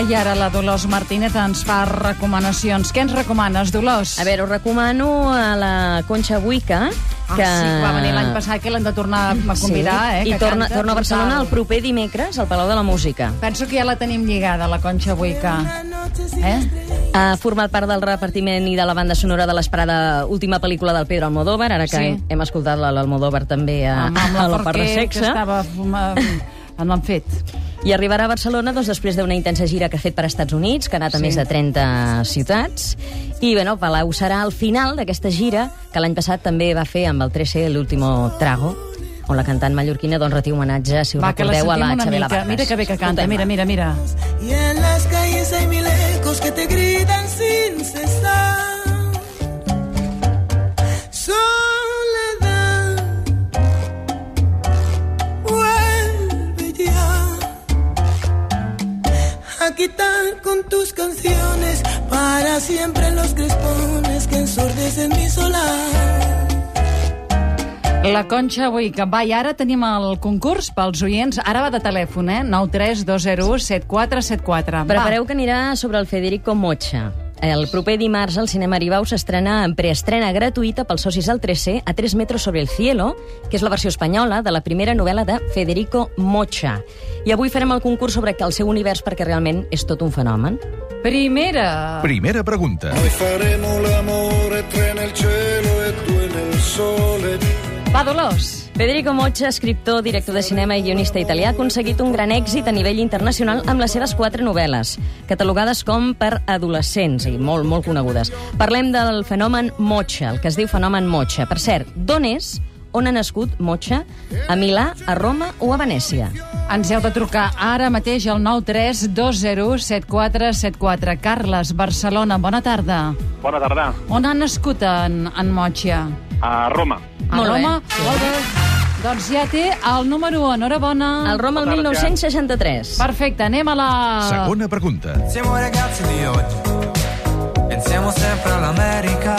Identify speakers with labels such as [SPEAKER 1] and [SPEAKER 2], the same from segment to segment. [SPEAKER 1] I ara la Dolors Martínez ens fa recomanacions. Què ens recomanes, Dolors?
[SPEAKER 2] A veure, us recomano a la Concha Buica,
[SPEAKER 1] Ah,
[SPEAKER 2] que...
[SPEAKER 1] sí, que va venir l'any passat, que l'hem de tornar a convidar, eh?
[SPEAKER 2] I
[SPEAKER 1] que
[SPEAKER 2] torna,
[SPEAKER 1] canta
[SPEAKER 2] torna a Barcelona
[SPEAKER 1] brutal.
[SPEAKER 2] el proper dimecres al Palau de la Música.
[SPEAKER 1] Penso que ja la tenim lligada, la Concha Buica. Eh?
[SPEAKER 2] Ha format part del repartiment i de la banda sonora de l'esperada última pel·lícula del Pedro Almodóvar, ara que
[SPEAKER 1] Sí.
[SPEAKER 2] sí. hem escoltat la- l'Almodóvar també a,
[SPEAKER 1] Amb, amb la,
[SPEAKER 2] Ah, a la
[SPEAKER 1] Forquer,
[SPEAKER 2] Parra
[SPEAKER 1] que
[SPEAKER 2] Sexa.
[SPEAKER 1] estava... eh, En l'han fet.
[SPEAKER 2] I arribarà a Barcelona doncs, després d'una intensa gira que ha fet per Estats Units, que ha anat a
[SPEAKER 1] Sí.
[SPEAKER 2] més de 30 ciutats. I bueno, Palau serà al final d'aquesta gira, que l'any passat també va fer amb el 3C l'último trago, on la cantant mallorquina doncs, retia homenatge, si us
[SPEAKER 1] Va, que la
[SPEAKER 2] recordeu, a
[SPEAKER 1] sentim
[SPEAKER 2] la
[SPEAKER 1] una
[SPEAKER 2] Xabela
[SPEAKER 1] mica.
[SPEAKER 2] Vargas.
[SPEAKER 1] Mira que bé que canta,
[SPEAKER 2] Escoltem-la.
[SPEAKER 1] mira, mira, mira.
[SPEAKER 3] Y en las calles hay mil ecos que te gritan sin cesar. Soledad, vuelve ya a quitar con tus canciones para siempre los crespones que ensordecen mi solar.
[SPEAKER 1] La Concha Buica. Va, i ara tenim el concurs pels oients. Ara va de telèfon, eh? 932017474.
[SPEAKER 2] Prepareu que anirà sobre el Federico Mocha. El proper dimarts al Cinema Aribau s'estrena en preestrena gratuïta pels socis del 3C a 3 metres sobre el cielo, que és la versió espanyola de la primera novel·la de Federico Mocha. I avui farem el concurs sobre el seu univers perquè realment és tot un fenomen.
[SPEAKER 1] Va. Primera.
[SPEAKER 4] Primera pregunta.
[SPEAKER 5] Noi faremo l'amore, tre nel cielo e due nel sole.
[SPEAKER 1] Va, Dolors.
[SPEAKER 2] Federico Mocha, escriptor, director de cinema i guionista italià, ha aconseguit un gran èxit a nivell internacional amb les seves quatre novel·les, catalogades com per adolescents i molt, molt conegudes. Parlem del fenomen Mocha, el que es diu fenomen Mocha. Per cert, d'on és, on ha nascut Mocha? A Milà, a Roma o a Venècia?
[SPEAKER 1] Ens heu de trucar ara mateix al 932017474. Carles, Barcelona, bona tarda.
[SPEAKER 6] Bona tarda.
[SPEAKER 1] On ha nascut en, en Motxia?
[SPEAKER 6] A Roma.
[SPEAKER 1] A
[SPEAKER 2] Molt bé.
[SPEAKER 1] Roma? Molt bé. Doncs ja té el número 1. Enhorabona.
[SPEAKER 2] Al Roma el 1963.
[SPEAKER 1] Perfecte, anem a la...
[SPEAKER 4] Segona pregunta.
[SPEAKER 7] Siamo ragazzi di oggi, pensiamo sempre all'America,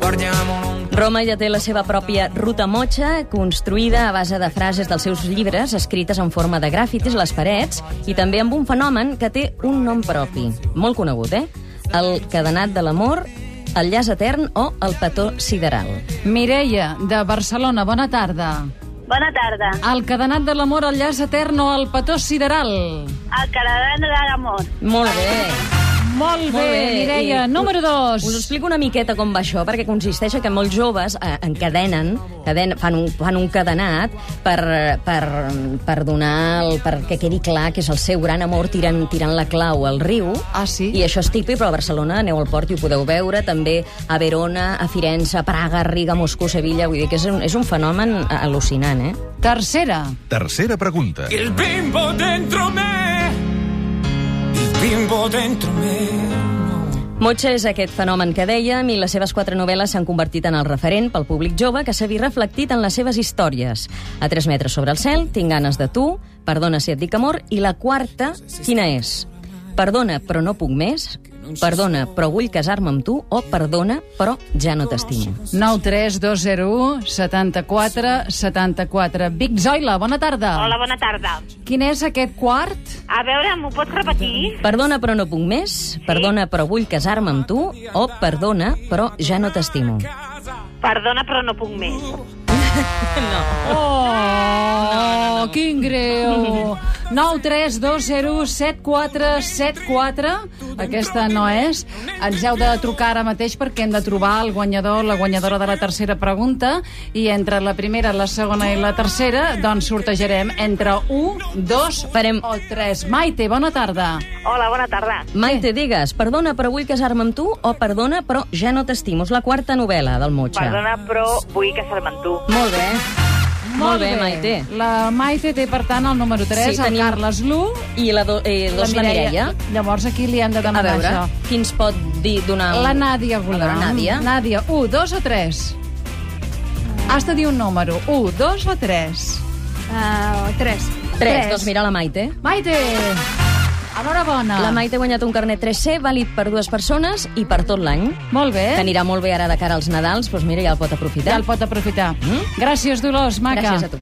[SPEAKER 7] guardiamo lontano.
[SPEAKER 2] Roma ja té la seva pròpia ruta motxa, construïda a base de frases dels seus llibres, escrites en forma de gràfitis a les parets, i també amb un fenomen que té un nom propi, molt conegut, eh? El cadenat de l'amor, el llaç etern o el petó sideral.
[SPEAKER 1] Mireia, de Barcelona, bona tarda.
[SPEAKER 8] Bona tarda.
[SPEAKER 1] El cadenat de l'amor, el llaç etern o el petó sideral?
[SPEAKER 8] El Caradà de l'Amor.
[SPEAKER 2] Molt bé.
[SPEAKER 1] Molt bé,
[SPEAKER 2] Molt bé.
[SPEAKER 1] Mireia.
[SPEAKER 2] I-
[SPEAKER 1] Número 2.
[SPEAKER 2] Us explico una miqueta com va això, perquè consisteix a que molts joves eh, encadenen, caden, fan, un, fan un cadenat per, eh, per, per donar, el, perquè quedi clar que és el seu gran amor tirant, tirant la clau al riu,
[SPEAKER 1] Ah, sí?
[SPEAKER 2] I això és típic, però a Barcelona aneu al port i ho podeu veure, també a Verona, a Firenze, a Praga, Riga, Moscou, Sevilla, vull dir que és un, és un fenomen eh, al·lucinant, eh?
[SPEAKER 1] Tercera.
[SPEAKER 4] Tercera pregunta.
[SPEAKER 7] Il bimbo dentro me, il bimbo dentro me.
[SPEAKER 2] Motxa és aquest fenomen que dèiem i les seves quatre novel·les s'han convertit en el referent pel públic jove que s'ha vist reflectit en les seves històries. A 3 metres sobre el cel, Tinc ganes de tu, Perdona si et dic amor, i la quarta, quina és? Perdona, però no puc més, Perdona, però vull casar-me amb tu, o Perdona, però ja no t'estimo.
[SPEAKER 1] 93201 74 74. Vic Zoila, bona tarda.
[SPEAKER 8] Hola, bona tarda.
[SPEAKER 1] Quin és aquest quart?
[SPEAKER 8] A veure, m'ho pots repetir?
[SPEAKER 2] Perdona, però no puc més. Perdona, però vull casar-me amb tu. O perdona, però ja no t'estimo.
[SPEAKER 8] Perdona, però no puc més.
[SPEAKER 1] Oh, quin greu. 932017474. Aquesta no és. Ens heu de trucar ara mateix perquè hem de trobar el guanyador, la guanyadora de la tercera pregunta i entre la primera, la segona i la tercera, doncs sortejarem entre 1, 2
[SPEAKER 2] Farem-
[SPEAKER 1] o 3. Maite, bona tarda.
[SPEAKER 8] Hola, bona tarda.
[SPEAKER 2] Maite, digues, perdona, però vull casar-me amb tu. O perdona, però ja no t'estimo. És la quarta novel·la del Motxa.
[SPEAKER 8] Perdona, però vull casar-me amb tu.
[SPEAKER 2] Molt bé. Molt bé, Maite.
[SPEAKER 1] La Maite té, per tant, el número 3,
[SPEAKER 2] Sí,
[SPEAKER 1] el
[SPEAKER 2] tenim-
[SPEAKER 1] Carles Lu,
[SPEAKER 2] I la, do, eh, dos, la Mireia.
[SPEAKER 1] Llavors, aquí li hem de
[SPEAKER 2] A
[SPEAKER 1] demanar
[SPEAKER 2] veure,
[SPEAKER 1] això.
[SPEAKER 2] qui ens pot dir, donar... un-
[SPEAKER 1] La Nàdia
[SPEAKER 2] A veure,
[SPEAKER 1] Golam.
[SPEAKER 2] Nàdia.
[SPEAKER 1] Nàdia, 1, 2 o 3? Has de dir un número. 1, 2 o 3?
[SPEAKER 9] Uh, tres.
[SPEAKER 2] Tres. Doncs mira la Maite.
[SPEAKER 1] Maite! Enhorabona.
[SPEAKER 2] La Maite ha guanyat un carnet 3C vàlid per dues persones i per tot l'any.
[SPEAKER 1] Molt bé.
[SPEAKER 2] Que anirà molt bé ara de cara als Nadals, doncs mira, ja el pot aprofitar.
[SPEAKER 1] Ja el pot aprofitar. Mm? Gràcies, Dolors, maca.
[SPEAKER 2] Gràcies a tu.